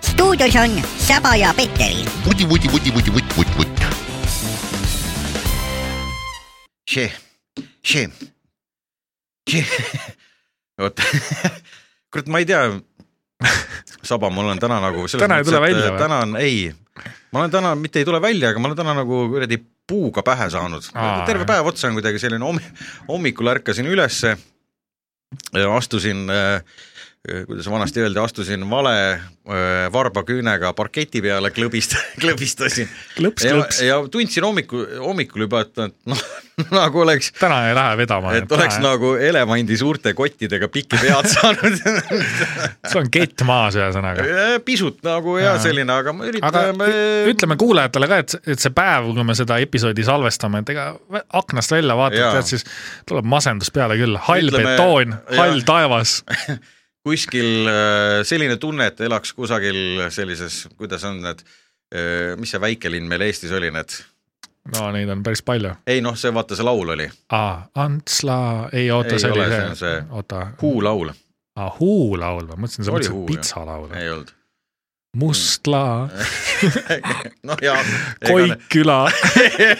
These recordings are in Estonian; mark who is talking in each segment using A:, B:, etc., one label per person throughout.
A: stuudios on Saba ja Peteril .
B: vuti , vuti , vuti , vuti , vutt , vutt , vutt . see , see , see , oota , kurat , ma ei tea . saba , mul on täna nagu .
C: Täna ei tule välja või?
B: täna on , ei , ma olen täna , mitte ei tule välja , aga ma olen täna nagu kuradi puuga pähe saanud
C: Aa, .
B: terve
C: jah.
B: päev otsa on kuidagi selline hommi- , hommikul ärkasin ülesse , astusin äh, kuidas vanasti öeldi , astusin vale öö, varbaküünega parketi peale , klõbist- , klõbistasin
C: klõps ,
B: ja,
C: klõps .
B: ja tundsin hommikul , hommikul juba , et et noh , nagu oleks ,
C: täna ei lähe vedama .
B: et oleks nagu elevandi suurte kottidega pikki pead saanud nagu-
C: see on kett maas , ühesõnaga .
B: pisut nagu ja
C: Jaa.
B: selline , aga ma
C: aga
B: üritan ,
C: ütleme kuulajatele ka , et , et see päev , kui me seda episoodi salvestame , et ega vä- aknast välja vaatad
B: Jaa. ,
C: tead siis tuleb masendus peale küll , hall
B: Ütleme-
C: betoon , hall
B: jah.
C: taevas .
B: kuskil öö, selline tunne , et elaks kusagil sellises , kuidas on need , mis see väikelinn meil Eestis oli , need ,
C: no neid on päris palju .
B: ei noh , see vaata , see laul oli ,
C: aa , Antsla , ei oota ,
B: Ei
C: see
B: ole,
C: oli
B: see on
C: see
B: see- ,
C: oota .
B: Huu laul
C: aa , Huu laul , ma mõtlesin ,
B: Oli
C: sa mõtlesid
B: Huu, jah.
C: pitsa laul .
B: ei olnud ,
C: Mustla ,
B: noh ja .
C: Koikküla ,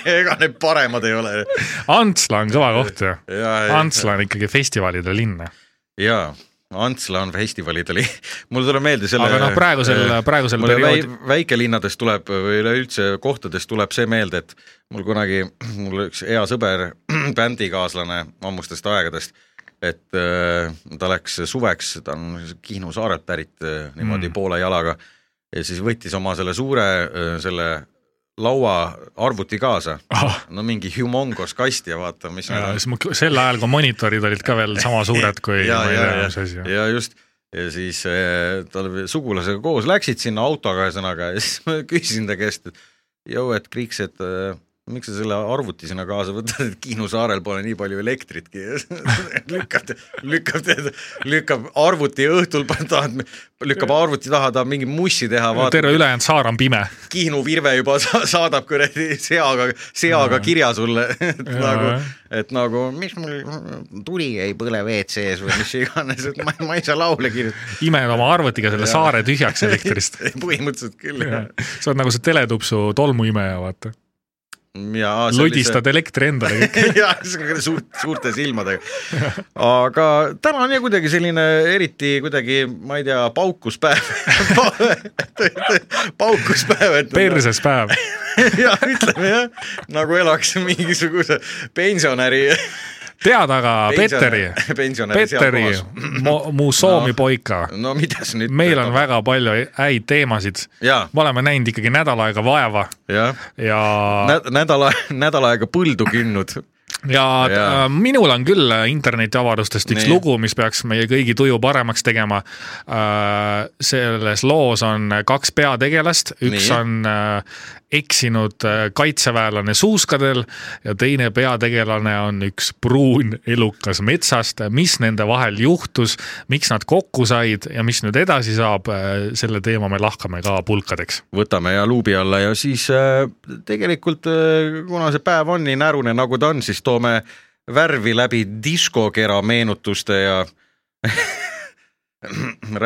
B: ega need paremad ei ole .
C: Antsla on kõva koht ju .
B: ja ,
C: Antsla on ikkagi festivalide linn .
B: ja Antsla on festivalidel , mul tuleb meelde selle . Äh,
C: aga noh , praegusel , praegusel
B: mulle väi,
C: perioodil ,
B: väikelinnades tuleb või üleüldse kohtades tuleb see meelde , et mul kunagi , mul üks hea sõber , bändikaaslane ammustest aegadest , et äh, ta läks suveks , ta on Kihnu saarelt pärit äh, niimoodi
C: Mm.
B: mm. poole jalaga ja siis võttis oma selle suure äh, selle laua arvuti kaasa ,
C: Ah.
B: no mingi humongos kast ja vaata , mis
C: ja siis ma kõ- sel ajal , kui monitorid olid ka veel sama suured kui
B: ja ,
C: ma ei
B: ja ,
C: tea , mis asi
B: ja , ja just , ja siis eh, tal sugulasega koos läksid sinna autoga ühesõnaga ja siis ma küsisin ta käest , et jõu , et Kriiks , et eh, miks sa selle arvuti sinna kaasa võtad , et Kihnu saarel pole nii palju elektritki . lükkab , lükkab , lükkab arvuti õhtul , tahad , lükkab arvuti taha , tahab mingi mussi teha , vaatab ,
C: terve ülejäänud saar on pime .
B: Kihnu virve juba sa- saadab kuradi seaga , seaga kirja sulle , et
C: Jaa.
B: nagu , et nagu , mis mul tuli ei põle WC-s või mis iganes , et ma, ma ei saa laule kirjutada .
C: imed oma arvutiga selle
B: Jaa.
C: saare tühjaks elektrist .
B: põhimõtteliselt küll jah .
C: sa oled nagu see teletupsu tolmuimeja , vaata .
B: ja
C: lodistad elektri endale kõik .
B: jah , suurt , suurte silmadega . aga täna on jah kuidagi selline eriti kuidagi , ma ei tea , paukuspäev . paukuspäev , et .
C: perses päev .
B: jah , ütleme jah , nagu elaks mingisuguse pensionäri .
C: tead aga Peteri ,
B: pensionäri seal
C: Peteri
B: kohas .,
C: mu Soomi
B: No.
C: poika ,
B: no mida sa nüüd .
C: meil on . väga palju häid teemasid ,
B: ja ,
C: me oleme näinud ikkagi nädal aega vaeva
B: jah ,
C: ja ,
B: nädal , nädal aega põldu künnud .
C: ja
B: jaa.
C: äh, minul on küll internetiavarustest üks
B: Nii.
C: lugu , mis peaks meie kõigi tuju paremaks tegema . selles loos on kaks peategelast , üks
B: Nii.
C: on äh, eksinud äh, kaitseväelane suuskadel ja teine peategelane on üks pruun elukas metsast . mis nende vahel juhtus , miks nad kokku said ja mis nüüd edasi saab , selle teema me lahkame ka pulkadeks .
B: võtame ja luubi alla ja siis äh, tegelikult äh, kuna see päev on nii närune , nagu ta on , siis toome värvi läbi diskokera meenutuste ja .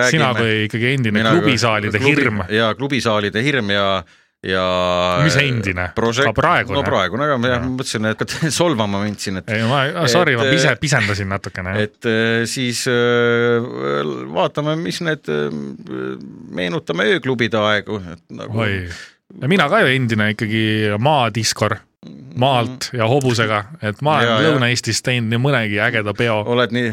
C: sina kui ikkagi endine klubisaalide hirm ,
B: ja klubisaalide hirm ja , ja .
C: Mis endine? Ka praegune?
B: no praegune , aga ma
C: Jaa.
B: jah, mõtlesin , et hakkad solvama mind siin , et
C: ei ma , sorry , ma
B: Et,
C: pise
B: eh, ,
C: pisendasin natukene .
B: et äh, siis äh, vaatame , mis need , meenutame ööklubide aegu , et nagu
C: oi , mina ka ju endine ikkagi maadiskor , maalt ja hobusega , et ma
B: Ja,
C: olen
B: ja.
C: Lõuna-Eestis teinud nii mõnegi ägeda peo .
B: oled nii ,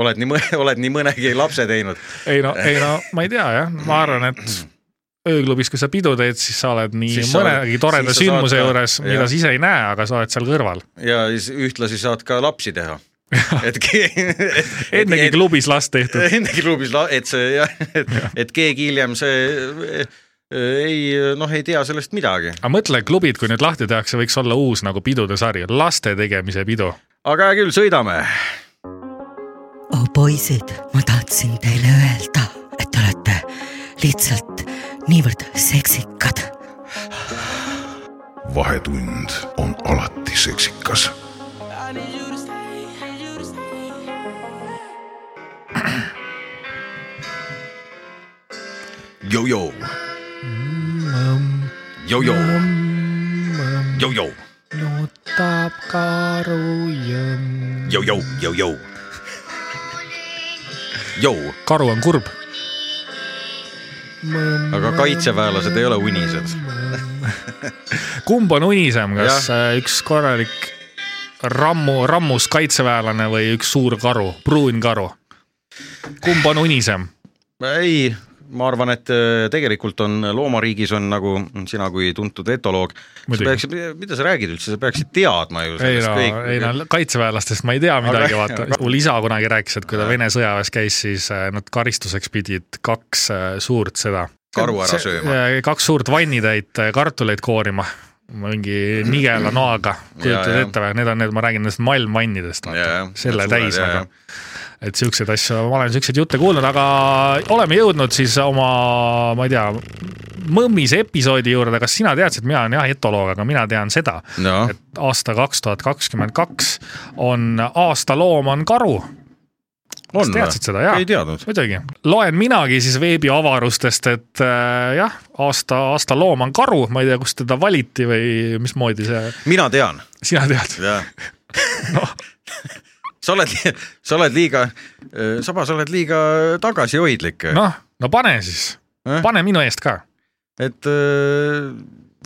B: oled nii , oled nii mõnegi lapse teinud .
C: ei no , ei no ma ei tea jah , ma arvan , et ööklubis , kui sa pidu teed , siis sa oled nii
B: Siis sa oled-
C: mõnegi toreda
B: siis sa saad
C: sündmuse
B: ka-
C: juures , mida
B: jah.
C: sa ise ei näe , aga sa oled seal kõrval .
B: ja siis ühtlasi saad ka lapsi teha . et ke- et-
C: ennegi
B: et-
C: klubis last tehtud .
B: ennegi klubis , et see jah , et , et keegi hiljem see äh, ei noh , ei tea sellest midagi ,
C: aga mõtle , klubid , kui nüüd lahti tehakse , võiks olla uus nagu pidude sari , laste tegemise pidu .
B: aga hea küll , sõidame .
D: oh poisid , ma tahtsin teile öelda , et te olete lihtsalt niivõrd seksikad .
E: vahetund on alati seksikas .
B: Jojo , jojo , jojo ,
C: nutab karu jõmm .
B: jojo , jojo , jou ,
C: karu on kurb .
B: aga kaitseväelased ei ole unised .
C: kumb on unisem , kas äh, üks korralik rammu , rammus kaitseväelane või üks suur karu , pruun karu ? kumb on unisem ?
B: ei , ma arvan , et äh, tegelikult on loomariigis on nagu sina kui tuntud etoloog , sa
C: Muidugi.
B: peaksid , mida sa räägid üldse , sa peaksid teadma ju
C: ei
B: sellest
C: no ,
B: kõik .
C: ei no kaitseväelastest ma ei tea midagi , vaata
B: aga- .
C: mul isa kunagi rääkis , et kui ta Vene sõjaväes käis , siis äh, nad karistuseks pidid kaks äh, suurt seda .
B: Karu ära sööma. .
C: kaks suurt vannitäit äh, kartuleid koorima mingi nigela noaga ,
B: Ja,
C: kujutad
B: ja.
C: ette või , need on need , ma räägin nendest maailmvannidest ,
B: Ja, ja.
C: selle
B: Need
C: täis
B: suured, ja,
C: nagu . et siukseid asju , ma olen siukseid jutte kuulnud , aga oleme jõudnud siis oma , ma ei tea , mõmmis episoodi juurde , kas sina teadsid , mina olen jah etoloog , aga mina tean seda ,
B: noh ,
C: et aasta kaks tuhat kakskümmend kaks on aastaloom on karu . kas
B: on
C: teadsid seda? Jaa.
B: ei teadnud .
C: muidugi , loen minagi siis veebiavarustest , et äh, jah , aasta , aastaloom on karu , ma ei tea , kust teda valiti või mismoodi see ,
B: mina tean ,
C: sina tead ?
B: jah sa oled , sa oled liiga , Saba , sa oled liiga tagasihoidlik no. ,
C: noh , no pane siis
B: Eh? ,
C: pane minu eest ka .
B: et äh,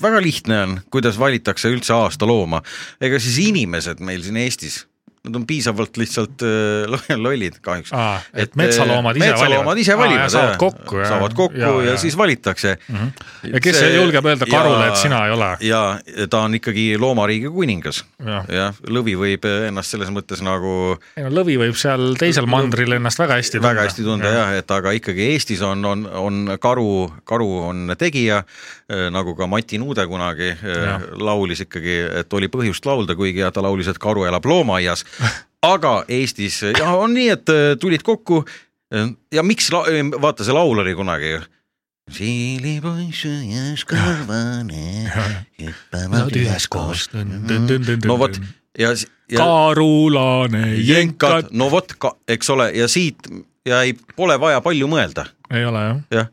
B: väga lihtne on , kuidas valitakse üldse aasta looma . ega siis inimesed meil siin Eestis , nad on piisavalt lihtsalt äh, lo- lollid kahjuks .
C: Aa, Ah, et metsaloomad ise
B: metsaloomad
C: valivad.
B: ise
C: Aa,
B: valivad
C: ja saavad kokku, jah.
B: saavad kokku ja,
C: Jaa,
B: ja, ja
C: jaa. Mhm.
B: siis valitakse mm . -hmm.
C: ja kes see... julgeb öelda karule , et sina ei ole ?
B: ja ta on ikkagi loomariigi kuningas
C: Jah.
B: jah , lõvi võib ennast selles mõttes nagu
C: ei no lõvi võib seal teisel mandril ennast väga hästi tunda .
B: väga hästi tunda jah ja, , et aga ikkagi Eestis on , on , on karu , karu on tegija , nagu ka Mati Nuude kunagi eh,
C: Jah.
B: laulis ikkagi , et oli põhjust laulda , kuigi jah, ta laulis , et karu elab loomaaias . aga Eestis jah , on nii , et eh, tulid kokku eh, ja miks , vaata see laul oli kunagi ju . siilipoiss ühes karvane , hüppame
C: Nad
B: üheskoos Mhm.
C: üheskoos .. no
B: no vot ja, s- ja
C: karulane
B: jenkad ,
C: jenkad .
B: no vot , eks ole , ja siit jäi , pole vaja palju mõelda ,
C: ei ole jah ,
B: jah .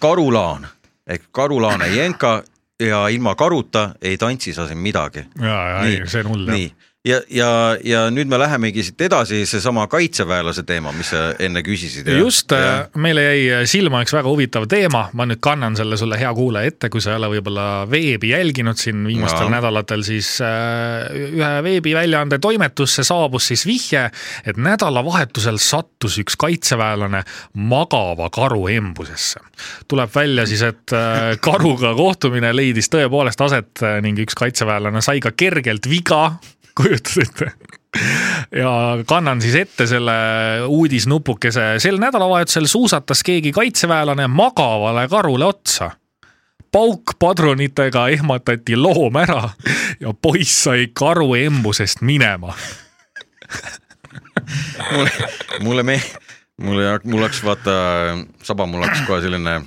B: karulaan ehk karulaane jenka ja ilma karuta ei tantsi sa siin midagi .
C: ja , ja ei , see on hull jah .
B: nii , ja , ja , ja nüüd me lähemegi siit edasi , seesama kaitseväelase teema , mis sa enne küsisid .
C: just , äh, meile jäi silma üks väga huvitav teema , ma nüüd kannan selle sulle , hea kuulaja , ette , kui sa ei ole võib-olla veebi jälginud siin viimastel
B: Jaa.
C: nädalatel , siis äh, ühe veebiväljaande toimetusse saabus siis vihje , et nädalavahetusel sattus üks kaitseväelane magava karu embusesse . tuleb välja siis , et äh, karuga kohtumine leidis tõepoolest aset äh, ning üks kaitseväelane sai ka kergelt viga , kujutad ette ja kannan siis ette selle uudisnupukese . sel nädalavahetusel suusatas keegi kaitseväelane magavale karule otsa . paukpadrunitega ehmatati loom ära ja poiss sai karu embusest minema .
B: mulle , mulle me- , mulle , mul läks vaata , saba , mul läks kohe selline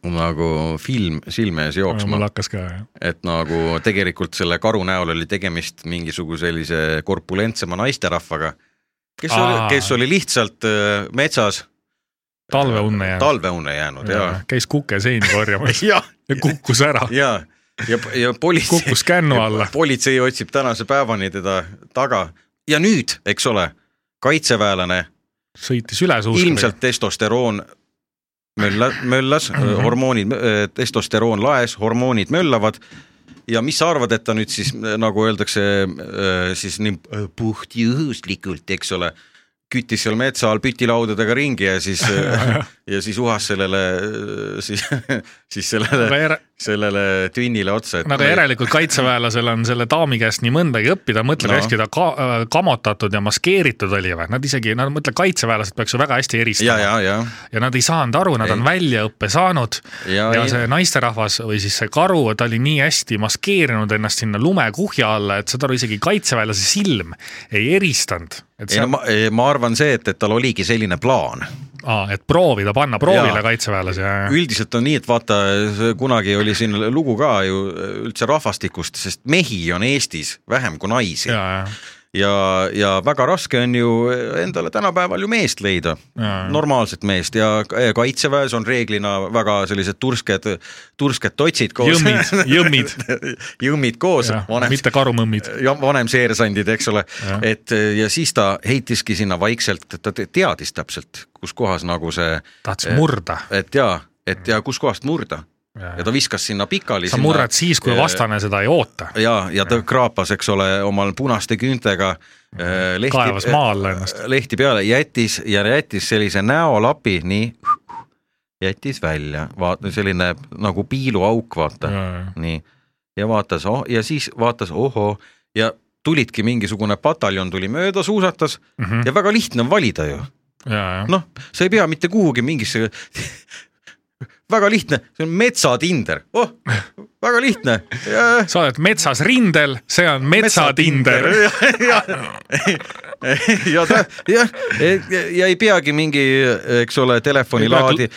B: nagu film silme ees jooksma
C: mul . hakkas ka jah .
B: et nagu tegelikult selle karu näol oli tegemist mingisuguse sellise korpulentsema naisterahvaga , kes oli
C: Aa. ,
B: kes oli lihtsalt öö, metsas
C: talveunne jäänud .
B: talveunne jäänud ja ,
C: käis kukeseeni korjamas
B: ja ,
C: ja kukkus ära ,
B: ja , ja , ja politsei .
C: kukkus kännu alla .
B: politsei otsib tänase päevani teda taga ja nüüd , eks ole , kaitseväelane ,
C: sõitis üle suuskadega .
B: ilmselt testosteroon mölla , möllas ,
C: Mhm.
B: hormoonid , testosteroon laes , hormoonid möllavad ja mis sa arvad , et ta nüüd siis öö, nagu öeldakse öö, siis nii öö, puhtjuhuslikult , eks ole , küttis seal metsa all pütilaudadega ringi ja siis äh, ja siis uhas sellele öö, siis siis
C: aga
B: sellele
C: järe-
B: sellele tünnile otsa , et
C: no aga järelikult kaitseväelasel on selle daami käest nii mõndagi õppida , mõtle
B: No.
C: no. , hästi ta ka, äh, kammotatud ja maskeeritud oli või , nad isegi , no mõtle , kaitseväelased peaks ju väga hästi
B: ja ,
C: eristama ja,
B: ja , ja ,
C: ja. ja nad ei saanud aru , nad
B: Ei.
C: ei. on väljaõppe saanud ja,
B: Ja
C: ja
B: ei-
C: see naisterahvas või siis see karu , ta oli nii hästi maskeerinud ennast sinna lumekuhja alla , et saad aru , isegi kaitseväelase silm ei eristanud , et
B: ei no
C: see ,
B: ma , ma arvan see , et , et tal oligi selline plaan
C: aa , et proovida panna
B: Jaa.
C: proovile kaitseväelase ja , ja ,
B: üldiselt on nii , et vaata , kunagi oli siin lugu ka ju üldse rahvastikust , sest mehi on Eestis vähem kui naisi
C: ja , ja ,
B: ja , ja väga raske on ju endale tänapäeval ju meest leida , normaalset meest ja ka- kaitseväes on reeglina väga sellised tursked , tursked otsid koos .
C: jõmmid , jõmmid ,
B: jõmmid koos , vanem
C: mitte karumõmmid .
B: ja vanem seersandid , eks ole
C: Jah. ,
B: et ja siis ta heitiski sinna vaikselt , ta te- teadis täpselt , kus kohas nagu see ,
C: tahtis murda .
B: et ja , et ja kuskohast murda ja ta viskas sinna pikali .
C: sa murrad siis , kui vastane seda ei oota .
B: ja , ja ta kraapas , eks ole , omal punaste küüntega äh, lehti .
C: Mhm. kaevas maa alla ennast .
B: lehti peale , jättis ja jättis sellise näolapi , nii , jättis välja , vaata selline nagu piiluauk , vaata , nii . ja vaatas oh, , ja siis vaatas , ohoo , ja tulidki mingisugune pataljon tuli mööda , suusatas
C: Mhm.
B: ja väga lihtne on valida ju , noh , sa ei pea mitte kuhugi mingisse väga lihtne , see on metsatinder , oh , väga lihtne .
C: sa oled metsas rindel , see on metsatinder .
B: ja , ja , ja , ja ei peagi mingi , eks ole , telefoni
C: Ei pea
B: laadi ,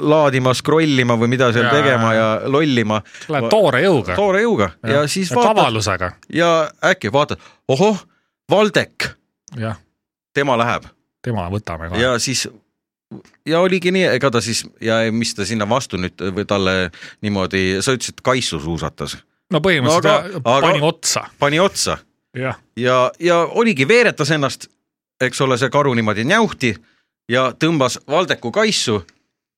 B: laadima , scrollima või mida seal
C: Jaa.
B: tegema ja lollima .
C: Lähed toore jõuga .
B: toore jõuga ja, ja siis vaatad
C: kavalusega ,
B: ja äkki vaatad , ohoh , Valdek ,
C: jah ,
B: tema läheb
C: tema võtame ka .
B: ja siis ja oligi nii , ega ta siis ja mis ta sinna vastu nüüd või talle niimoodi , sa ütlesid , Kaisu suusatas ,
C: no põhimõtteliselt
B: No
C: ta
B: aga-
C: pani otsa .
B: pani otsa
C: jah ,
B: ja , ja oligi , veeretas ennast , eks ole , see karu niimoodi njauhti ja tõmbas Valdeku kaisu ,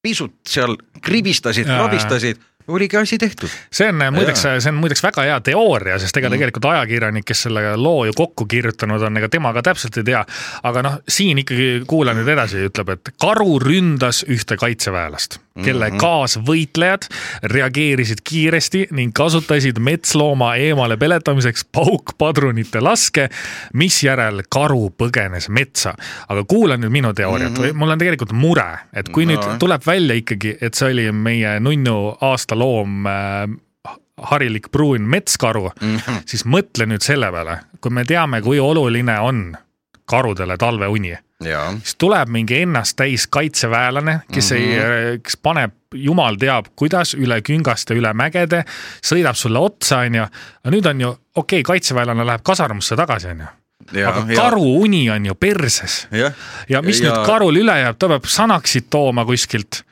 B: pisut seal kribistasid ,
C: Jaa.
B: krabistasid , oligi asi tehtud .
C: see on äh, muideks ,
B: Jaa. Mm.
C: see on muideks väga hea teooria , sest ega tegelikult ajakirjanik , kes selle loo ju kokku kirjutanud on , ega tema ka täpselt ei tea . aga noh , siin ikkagi kuulan nüüd edasi , ütleb , et karu ründas ühte kaitseväelast , kelle
B: Mhm.
C: kaasvõitlejad reageerisid kiiresti ning kasutasid metslooma eemale peletamiseks paukpadrunite laske , misjärel karu põgenes metsa . aga kuula nüüd minu teooriat
B: Mhm.
C: mm , -hmm. mul on tegelikult mure , et kui no.
B: No.
C: nüüd tuleb välja ikkagi , et see oli meie nunnu aastaloom äh, harilik pruun metskaru mm , -hmm. siis mõtle nüüd selle peale , kui me teame , kui oluline on karudele talveuni ,
B: jaa ,
C: siis tuleb mingi ennast täis kaitseväelane , kes mm -hmm. ei , kes paneb , jumal teab , kuidas üle küngaste , üle mägede , sõidab sulle otsa , onju . aga nüüd on ju , okei okay, , kaitseväelane läheb kasarmusse tagasi , onju . aga karu uni on ju perses
B: jah ,
C: ja mis ja...
B: Ja-
C: nüüd karul üle jääb , ta peab sanaksid tooma kuskilt ,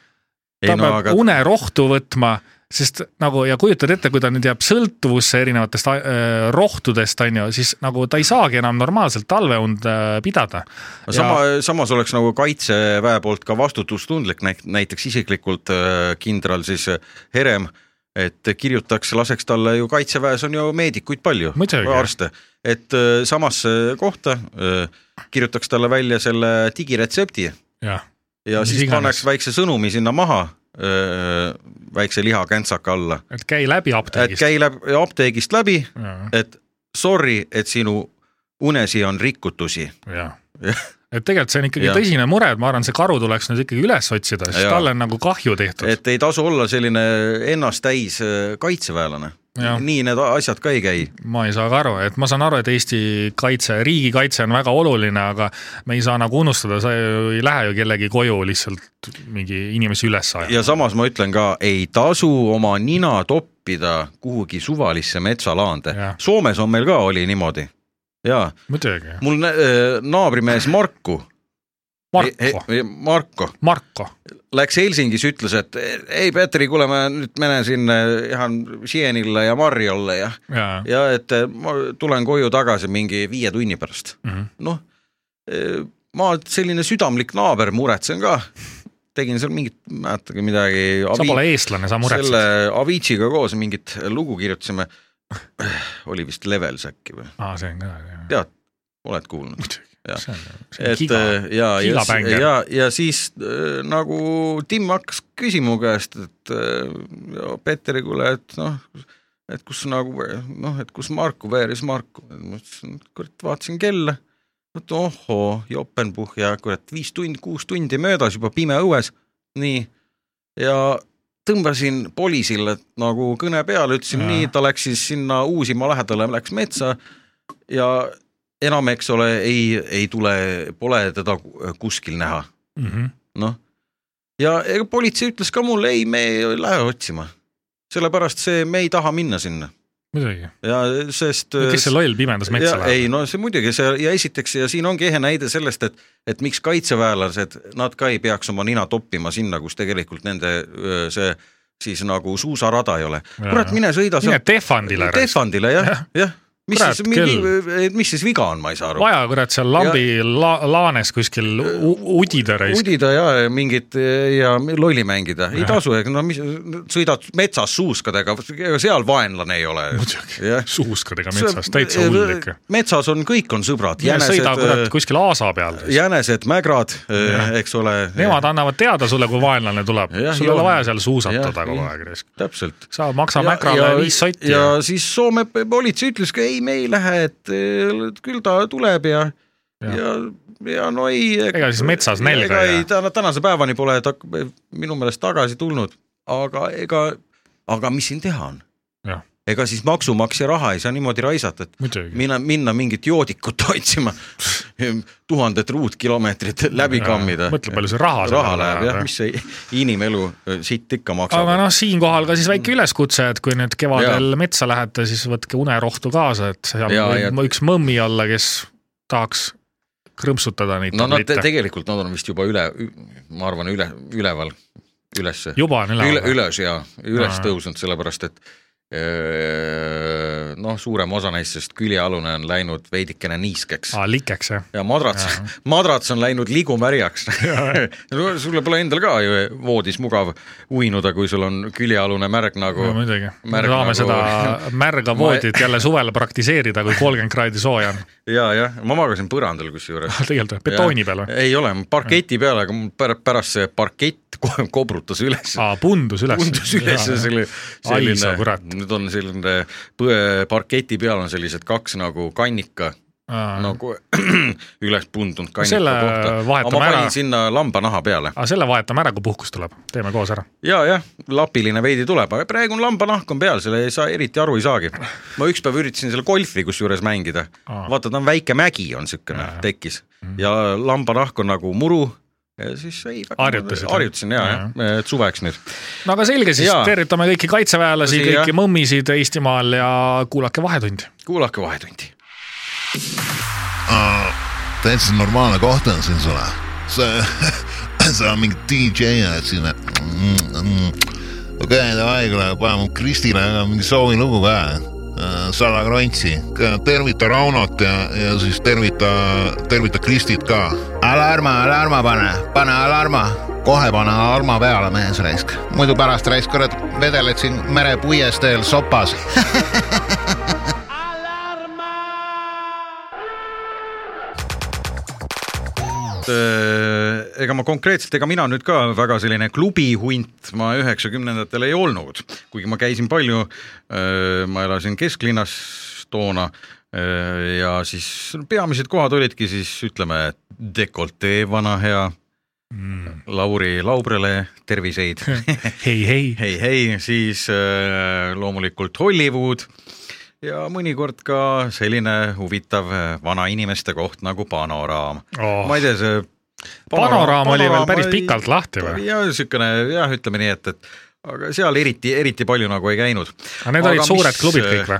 C: ta
B: ei
C: peab
B: no
C: aga...
B: aga
C: unerohtu võtma , sest nagu ja kujutad ette , kui ta nüüd jääb sõltuvusse erinevatest äh, rohtudest , on ju , siis nagu ta ei saagi enam normaalselt talveund äh, pidada .
B: sama , samas oleks nagu kaitseväe poolt ka vastutustundlik , näiteks isiklikult äh, kindral siis äh, Herem , et kirjutaks , laseks talle ju kaitseväes on ju meedikuid palju ,
C: Muidugi.
B: arste , et äh, samasse kohta äh, kirjutaks talle välja selle digiretsepti
C: jah ,
B: ja
C: Mis
B: siis
C: iganes.
B: paneks väikse sõnumi sinna maha , väikse lihakentsaka alla ,
C: et käi läbi
B: et
C: apteegist .
B: käi läbi apteegist läbi ,
C: Käi...
B: et sorry , et sinu unesi on rikutusi .
C: jah
B: Jah. ,
C: et tegelikult see on ikkagi ja.
B: Jah.
C: tõsine mure , et ma arvan , see karu tuleks nüüd ikkagi üles otsida , sest
B: Jaa.
C: talle on nagu kahju tehtud et... .
B: et ei tasu olla selline ennast täis äh, kaitseväelane
C: Jah. .
B: nii need a- asjad ka ei käi .
C: ma ei saa ka aru , et ma saan aru , et Eesti kaitse , riigikaitse on väga oluline , aga me ei saa nagu unustada , sa ju ei lähe ju kellegi koju lihtsalt mingi inimesi üles ajama .
B: ja samas ma ütlen ka , ei tasu oma nina toppida kuhugi suvalisse metsalaande
C: Jah. .
B: Soomes on meil ka oli niimoodi ja
C: muidugi ,
B: mul nä- äh, naabrimees Marku ,
C: Marko ,
B: Marko
C: Marko ,
B: läks Helsingis , ütles , et ei Petri , kuule , ma nüüd menen sinna äh, ihan Sienile ja Marjolle ja ,
C: jaa .
B: ja et äh, ma tulen koju tagasi mingi viie tunni pärast .
C: Mhm.
B: noh , ma selline südamlik naaber , muretsen ka . tegin seal mingit , mäletage midagi .
C: sa pole eestlane , sa muretsed
B: selle
C: Selle... .
B: Aviciiga koos mingit lugu kirjutasime . oli vist Levels äkki või ?
C: aa , see on ka ,
B: tead , oled kuulnud ? jah.
C: see on , see on
B: et
C: giga .
B: äh, ja , ja,
C: Gigabänger.
B: ja , ja siis äh, nagu Tim hakkas küsima mu käest , et äh, Peeteri , kuule , et noh , et kus nagu noh , et kus Marko , where is Marko , ma ütlesin , et kurat , vaatasin kella , et ohoo , jopenpuhja , kurat , viis tundi , kuus tundi möödas juba pime õues , nii , ja tõmbasin Polisile nagu kõne peale , ütlesin
C: Jaa.
B: ja. nii , ta läks siis sinna Uusimaa lähedale , läks metsa ja enam , eks ole , ei , ei tule , pole teda ku- kuskil näha ,
C: Mhm.
B: noh . ja ega politsei ütles ka mulle , ei , me ei lähe otsima , sellepärast see , me ei taha minna sinna .
C: muidugi ,
B: ja sest äh,
C: kes see loll pimendas
B: ja,
C: metsa
B: äh, ei
C: läheb ?
B: no see muidugi see ja esiteks ja siin ongi ehe näide sellest , et et miks kaitseväelased , nad ka ei peaks oma nina toppima sinna , kus tegelikult nende öö, see siis nagu suusarada ei ole .
C: Jaa.
B: kurat , mine sõida
C: mine Tehvandile ,
B: Tehvandile jah , jah . mis
C: Kurat,
B: siis , mingi eh,
C: küll. ,
B: mis siis viga on , ma ei saa aru .
C: vaja kurat seal lambi la, laanes kuskil u- udida raisk .
B: udida ja ja mingit eh, ja lolli mängida , ei tasu , ega no mis , sõidad metsas suuskadega , ega seal vaenlane ei ole .
C: muidugi
B: Jah. ,
C: suuskadega metsas , täitsa hull ikka .
B: metsas on , kõik on sõbrad ,
C: sõida kurat
B: jänesed , äh, eh,
C: kuskil aasa peal .
B: jänesed , mägrad , eks ole .
C: Nemad annavad teada sulle , kui vaenlane tuleb
B: Jah, .
C: sul ei ole
B: joon.
C: vaja seal suusatada
B: Jah,
C: kogu
B: jah.
C: aeg raisk .
B: täpselt .
C: sa maksa
B: Ja-
C: Mäkrale
B: ja-
C: viis sotti
B: ja,
C: ja,
B: ja siis Soome p- politsei ütles ka ei , me ei lähe , et eh, küll ta tuleb ja ,
C: Ja.
B: ja, ja , ja no ei .
C: Ega siis metsas nälga
B: ei
C: ei jää.
B: jää . tänase päevani pole ta minu meelest tagasi tulnud , aga ega , aga mis siin teha on
C: Jah. ?
B: ega siis maksumaksja raha ei saa niimoodi raisata , et
C: muidugi .
B: minna , minna mingit joodikut otsima , tuhandet ruutkilomeetrit läbi kammida .
C: mõtle , palju see raha
B: raha läheb jah ,. mis see inimelu eh, siit ikka maksab
C: aga . noh , siinkohal ka siis
B: Mm.
C: väike üleskutse , et kui nüüd kevadel metsa lähete , siis võtke unerohtu kaasa , et seal
B: Ja,
C: võib
B: ja-
C: ja. üks mõmmi olla , kes tahaks krõmpsutada neid
B: no nad te
C: tablette no, .
B: tegelikult nad on vist juba üle , ma arvan , üle , üleval , ülesse ,
C: juba on
B: üle ,
C: üleval .
B: üles ja üles
C: Aa.
B: tõusnud , sellepärast et öö, noh , suurem osa neist , sest küljealune on läinud veidikene niiskeks
C: aa , likeks jah ?
B: ja madrats , madrats on läinud ligumärjaks . sulle pole endal ka ju voodis mugav uinuda , kui sul on küljealune märg nagu
C: muidugi , me
B: märg
C: saame
B: nagu-
C: seda märga
B: Ma-
C: voodit jälle suvel praktiseerida , kui kolmkümmend kraadi sooja on .
B: ja , jah , ma magasin põrandal kusjuures .
C: tegelikult või? betooni peal või ?
B: või ? ei ole , parketi peal , aga mul pär- pärast see parkett kohe kobrutas üles .
C: aa , pundus üles .
B: tundus üles ja selle ,
C: Ai sa
B: selline
C: kurat. ,
B: nüüd on selline põe- parketi peal on sellised kaks nagu kannika
C: no
B: nagu üles pundunud kannika
C: Selle
B: kohta .
C: vahetame
B: aga ma panin
C: ära.
B: sinna lambanaha peale
C: aga selle vahetame ära , kui puhkus tuleb , teeme koos ära .
B: ja jah , lapiline veidi tuleb , aga praegu on lambanahk on peal , selle ei saa eriti aru ei saagi . ma ükspäev üritasin seal golfi kusjuures mängida
C: Aa. , Mhm.
B: vaata ta on väike mägi on siukene
C: Jajah.
B: tekkis ja lambanahk on nagu muru ja siis ei .
C: Harjutasid, jah?
B: harjutasin ja , jah , et suveks nüüd .
C: no aga selge siis
B: Jaa. ,
C: tervitame kõiki kaitseväelasi ,
B: Tõsi,
C: kõiki
B: jah.
C: mõmmisid Eestimaal ja kuulake Vahetundi .
B: kuulake Vahetundi .
E: täitsa normaalne koht on siin sulle . see , sa mingi DJ oled siin . okei , davai , kuule , paneme Kristile mingi soovilugu ka . Äh, Salla Krontsi , tervita Raunot ja , ja siis tervita , tervita Kristit ka . alarma , alarma pane , pane alarma , kohe pane alarma peale , mees raisk , muidu pärast raisk , kurat , vedeled siin merepuies teel sopas
B: Äh, ega ma konkreetselt , ega mina nüüd ka väga selline klubihunt ma üheksakümnendatel ei olnud , kuigi ma käisin palju . ma elasin kesklinnas toona öö, ja siis peamised kohad olidki siis ütleme dekoltee vana hea mm. Lauri Laubrele terviseid
C: hei , hei .
B: hei , hei , siis äh, loomulikult Hollywood ja mõnikord ka selline huvitav äh, vanainimeste koht nagu panoraam oh. .
C: Oh.
B: ma ei tea , see
C: Panoraam oli veel päris pikalt lahti või?
B: ja niisugune jah , ütleme nii , et , et aga seal eriti , eriti palju nagu ei käinud .
C: aga need
B: Aga
C: olid suured
B: mis,
C: klubid kõik või ?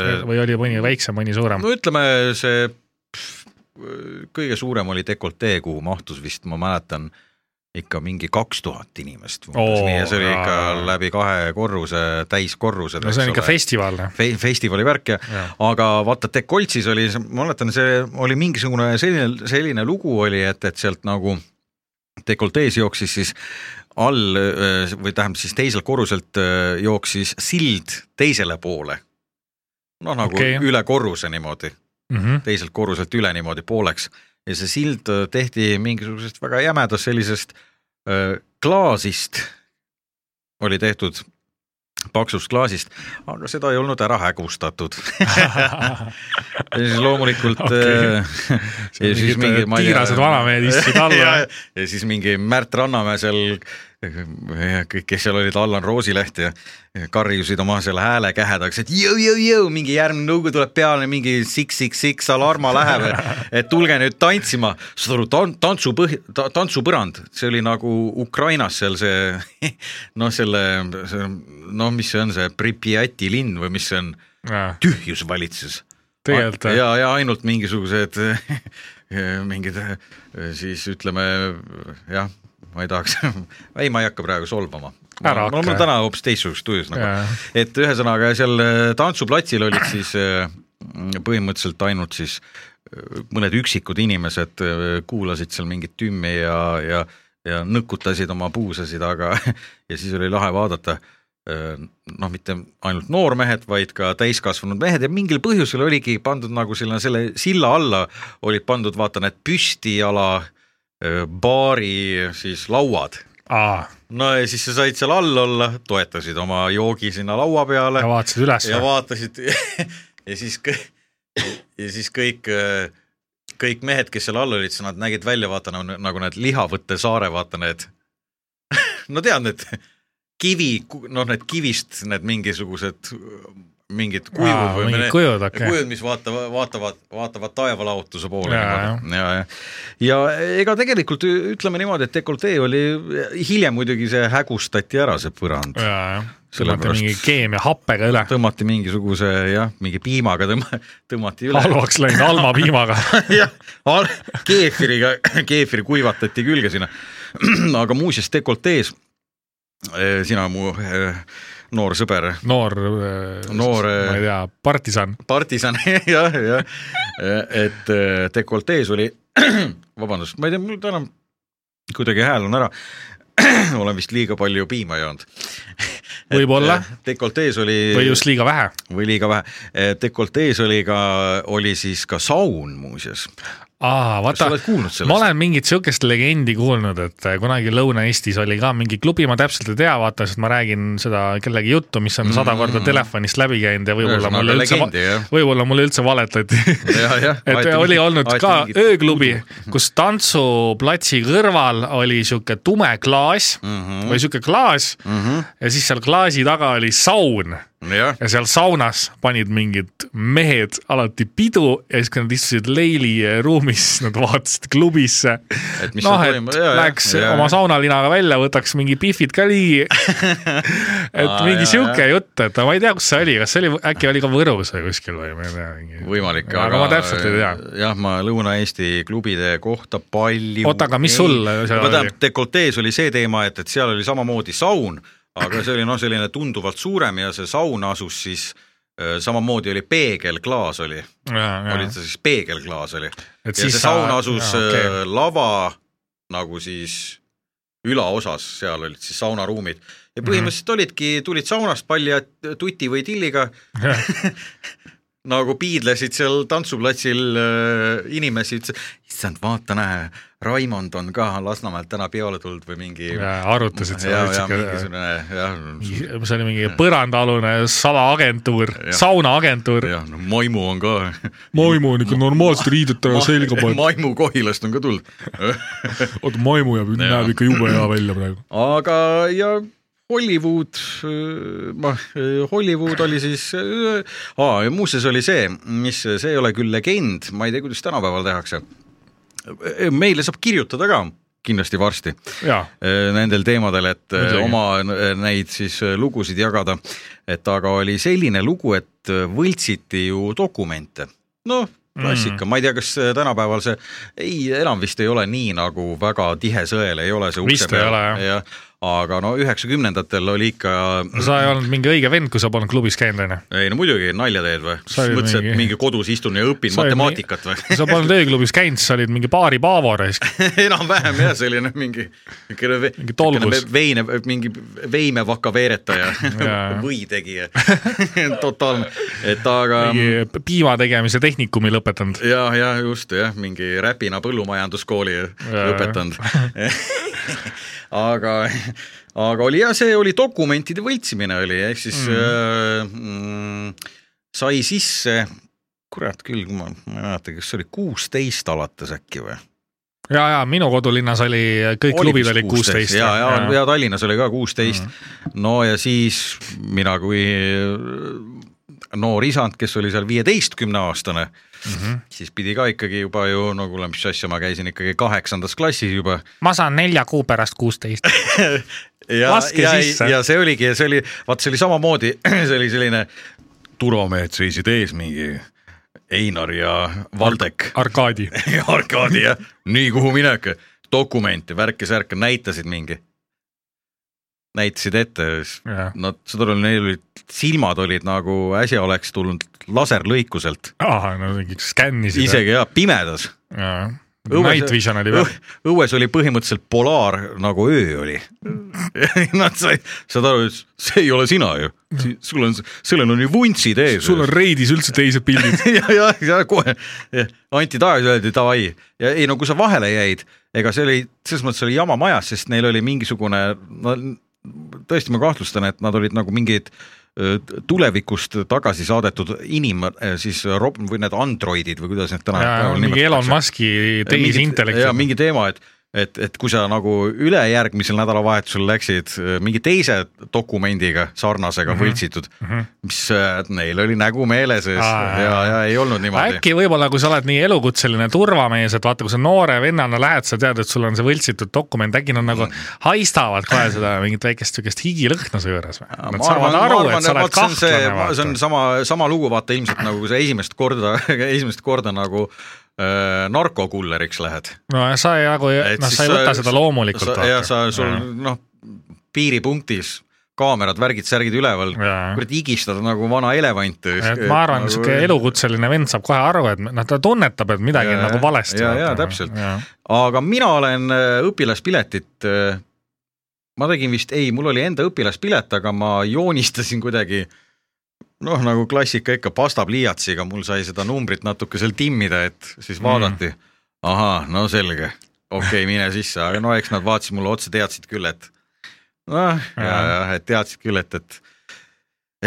B: äh,
C: või oli mõni väiksem , mõni suurem ?
B: no ütleme , see pff, kõige suurem oli dekoltee , kuhu mahtus vist , ma mäletan , ikka mingi kaks tuhat inimest umbes
C: Oo,
B: nii ja see oli
C: jaa.
B: ikka läbi kahe korruse , täiskorrused .
C: no see on ikka festival noh .
B: fe- , festivali värk ja
C: Jaa.
B: aga vaata , Dekoltsis oli , ma mäletan , see oli mingisugune selline , selline lugu oli , et , et sealt nagu dekoltees jooksis siis all öö, või tähendab siis teiselt korruselt öö, jooksis sild teisele poole . noh , nagu
C: Okei.
B: okay. üle korruse niimoodi ,
C: Mhm.
B: teiselt korruselt üle niimoodi pooleks ja see sild öö, tehti mingisugusest väga jämedast sellisest öö, klaasist oli tehtud paksust klaasist , aga seda ei olnud ära hägustatud ja siis loomulikult
C: Okei.
B: okay. ja siis mingi ma ei tea-
C: tiirased vanamehed istusid alla
B: ja , ja siis mingi Märt Rannamäe seal , kõik , kes seal olid , Allan Roosileht ja ja karjusid oma selle hääle kähedaks , et jõu , jõu , jõu , mingi järgmine lugu tuleb peale , mingi siks-siks-siks alarma läheb , et tulge nüüd tantsima . saad aru , tan- , tantsupõh- , ta- , tantsupõrand , see oli nagu Ukrainas seal see noh , selle , see noh , mis see on , see Pripjati linn või mis see on tühjus valitses .
C: tegelikult jah.
B: ja , ja ainult mingisugused mingid siis ütleme jah , ma ei tahaks , ei , ma ei hakka praegu solvama .
C: Ära
B: mul
C: hakka.
B: on täna hoopis teistsugusest tujust nagu , et ühesõnaga seal äh, tantsuplatsil olid siis eh, põhimõtteliselt ainult siis eh, mõned üksikud inimesed eh, kuulasid seal mingit tümmi ja , ja , ja nõkutasid oma puusasid , aga ja siis oli lahe vaadata eh, noh , mitte ainult noormehed , vaid ka täiskasvanud mehed ja mingil põhjusel oligi pandud nagu selle , selle silla alla olid pandud , vaata need püstijala eh, baari siis lauad
C: aa ,
B: no ja siis sa said seal all olla , toetasid oma joogi sinna laua peale
C: ja vaatasid üles
B: ja vaatasid ja siis kõik , ja siis kõik , kõik mehed , kes seal all olid , nad nägid välja , vaata nagu, nagu need Lihavõtte saare , vaata need , no tead need kivi , noh need kivist need mingisugused mingid kuivad või
C: mingid
B: mine-
C: kujud , okei
B: kujud , mis vaatavad , vaatavad , vaatavad taevalaotuse poole .
C: Jaa,
B: ja , ja , ja ega tegelikult ü- ütleme niimoodi , et dekoltee oli , hiljem muidugi see hägustati ära , see põrand .
C: ja , jah , tõmmati
B: Sellepärast-
C: mingi keemia happega üle ,
B: tõmmati mingisuguse jah , mingi piimaga tõmba- , tõmmati üle .
C: halvaks läinud halma piimaga
B: jah , keefiriga , keefiri kuivatati külge sinna . aga muuseas dekoltees , sina mu eh, noor sõber ,
C: noor ,
B: Noor, äh,
C: ma ei tea , partisan ,
B: partisan jah , jah , et eh, dekoltees oli , vabandust , ma ei tea , mul täna kuidagi hääl on ära , olen vist liiga palju piima joonud .
C: Võib-olla. .
B: dekoltees oli
C: või just liiga vähe .
B: või liiga vähe , dekoltees oli ka , oli siis ka saun muuseas .
C: aa ,
B: kas sa
C: vaata ,
B: oled kuulnud
C: ma
B: sellest ?
C: olen mingit sihukest legendi kuulnud , et eh, kunagi Lõuna-Eestis oli ka mingi klubi , ma täpselt ei tea , vaata , sest ma räägin seda kellegi juttu , mis on sada korda telefonist läbi käinud ja võib-olla
B: Mm. Ühesõnaga
C: mulle üldse
B: legendi, jah. ,
C: võib-olla mulle üldse valetati .
B: Jah, jah.
C: et
B: Aeti
C: oli
B: mingit-
C: olnud
B: aeti
C: ka
B: mingit Mhm.
C: ööklubi , kus tantsuplatsi kõrval oli sihuke tume klaas
B: Mhm.
C: või sihuke klaas ja siis seal klaasi taga oli saun
B: jah ,
C: ja seal saunas panid mingid mehed alati pidu ja siis , kui nad istusid leili ruumis , siis nad vaatasid klubisse .
B: Et mis
C: noh ,
B: seal
C: et
B: toimub, jaa, jaa,
C: läheks
B: jaa,
C: oma
B: jaa.
C: saunalinaga välja , võtaks mingi pihvid ka ligi . et
B: Aa,
C: mingi
B: jaa,
C: sihuke
B: jaa.
C: jutt , et ma ei tea , kus see oli , kas see oli , äkki oli ka Võrus või kuskil või ma ei tea .
B: võimalik ,
C: aga . ma täpselt ei tea ..
B: jah , ma Lõuna-Eesti klubide kohta palju .
C: Oota, aga mis sul seal oli?
B: tähendab , dekoltees oli see teema , et , et seal oli samamoodi saun , aga see oli noh , selline tunduvalt suurem ja see saun asus siis öö, samamoodi oli peegelklaas oli , oli ta siis peegelklaas oli . ja
C: et
B: see
C: siis
B: saun asus okay. lava nagu siis ülaosas , seal olid siis saunaruumid
C: Mhm.
B: ja põhimõtteliselt olidki , tulid saunast palja tuti või tilliga nagu piidlesid seal tantsuplatsil äh, inimesi , ütles , issand , vaata näe , Raimond on ka Lasnamäelt täna peole tulnud või mingi .
C: arutasid
B: ja , ja
C: seda .
B: äh, mingisugune jah ,
C: see oli mingi põrandaalune salaagentuur ,
B: Jah.
C: saunaagentuur .
B: jah , no Maimu on ka .
C: maimu on ikka normaalselt riided ära selga pannud ,
B: Maimu Kohilast on ka tulnud .
C: oota maimu jääb , näeb ikka jube hea välja praegu .
B: aga ja Hollywood , ma , Hollywood oli siis , aa ja muuseas oli see , mis , see ei ole küll legend , ma ei tea , kuidas tänapäeval tehakse . meile saab kirjutada ka kindlasti varsti
C: jaa ,
B: Äh, nendel teemadel , et äh,
C: Muidugi.
B: oma neid siis äh, lugusid jagada . et aga oli selline lugu , et äh, võltsiti ju dokumente . noh , klassika mm. , ma ei tea , kas tänapäeval see , ei , enam vist ei ole nii nagu väga tihe sõel ei ole see
C: Vist
B: ukse
C: ei ole, jah.
B: jah . aga no üheksakümnendatel oli ikka ,
C: sa ei olnud mingi õige vend , kui sa polnud klubis käinud , onju .
B: ei no muidugi , nalja teed või ?
C: Sai
B: mõtlesid ,
C: mingi-
B: et mingi kodus istun ja õpin
C: Sai
B: matemaatikat või ?
C: sa polnud ööklubis käinud , sa olid mingi baari paavoores .
B: enam-vähem jah , selline mingi ,
C: Mingi tolgus.
B: veine , mingi veimevaka veeretaja
C: Jaa.
B: või tegija , totaalne , et aga
C: mingi piima tegemise tehnikumi lõpetanud .
B: ja , ja just jah , mingi Räpina põllumajanduskooli lõpetanud . aga , aga oli jah , see oli dokumentide võltsimine oli , ehk siis
C: Mhm.
B: mm -hmm. äh, sai sisse , kurat küll , ma ma ei mäleta , kas see oli kuusteist alates äkki või ?
C: ja , ja minu kodulinnas oli , kõik oli klubid
B: vist
C: olid kuusteist . Mhm.
B: ja , ja , ja Tallinnas oli ka kuusteist . no ja siis mina kui äh, noor isand , kes oli seal viieteistkümneaastane mm ,
C: Mhm.
B: -hmm. siis pidi ka ikkagi juba ju , no kuule , mis asja , ma käisin ikkagi kaheksandas klassis juba .
C: ma saan nelja kuu pärast kuusteist .
B: ja
C: Laske
B: ja,
C: sisse.
B: ja see oligi , see oli , vaat see oli samamoodi , see oli selline turvamehed seisid ees mingi Einar ja Valdek
C: Arkaadi .
B: ja Arkadi ja nii kuhu minek , dokumente , värke-särke näitasid mingi , näitasid ette , siis nad , seda oli , neil olid silmad olid nagu äsja oleks tulnud laserlõikuselt ,
C: ahah , no mingi skännisid .
B: isegi ja pimedas .
C: Night Vision oli peal .
B: õues oli põhimõtteliselt polaar nagu öö oli .
C: Mm.
B: Nad said , saad aru , see ei ole sina ju , sul on , sellel on ju vuntsid ees .
C: Mm. sul on reidis üldse teised pildid .
B: ja , ja , ja kohe Ja anti tagasi , öeldi davai ja ei no kui sa vahele jäid , ega see oli selles mõttes oli jama majas , sest neil oli mingisugune , no tõesti , ma kahtlustan , et nad olid nagu mingid öö, tulevikust tagasi saadetud inim- , siis rob- või need androidid või kuidas need tänapäeval
C: mingi Elon Muski tehisintellekt .
B: ja mingi teema , et et , et kui sa nagu ülejärgmisel nädalavahetusel läksid öö, mingi teise dokumendiga sarnasega mm
C: Mhm.
B: -hmm. võltsitud mm , -hmm. mis öö, neil oli nägu meeles ja
C: Aa.
B: ja , ja ei olnud niimoodi .
C: äkki võib-olla , kui sa oled nii elukutseline turvamees , et vaata , kui sa noore vennana lähed , sa tead , et sul on see võltsitud dokument , äkki nad nagu
B: Mm.
C: haistavad kohe seda mingit väikest siukest higilõhna su juures või ?
B: Ma
C: Nad saavad
B: ma
C: aru ,
B: arvan,
C: et sa oled
B: vot see on see-
C: kahtlane
B: see on
C: vaata .
B: sama , sama lugu vaata ilmselt nagu kui sa esimest korda , esimest korda nagu äh, narkokulleriks lähed .
C: nojah , sa ei nagu , noh , sa ei võta seda loomulikult
B: vaata . jah , sa , sul . noh , piiripunktis kaamerad , värgid , särgid üleval ,
C: Jaa.
B: kurat higistad nagu vana elevant . Nagu
C: et ma arvan , sihuke . elukutseline vend saab kohe aru , et noh , ta tunnetab , et midagi on
B: Jaa,
C: nagu valesti .
B: jaa, jaa, täpselt. aga mina olen äh, õpilaspiletit äh, ma tegin vist , ei , mul oli enda õpilaspilet , aga ma joonistasin kuidagi noh , nagu klassika ikka , pastapliiatsiga , mul sai seda numbrit natuke seal timmida , et siis vaadati mm. . ahah , no selge , okei okay, , mine sisse , aga no eks nad vaatasid mulle otsa , teadsid küll , et noh , jah , et teadsid küll , et , et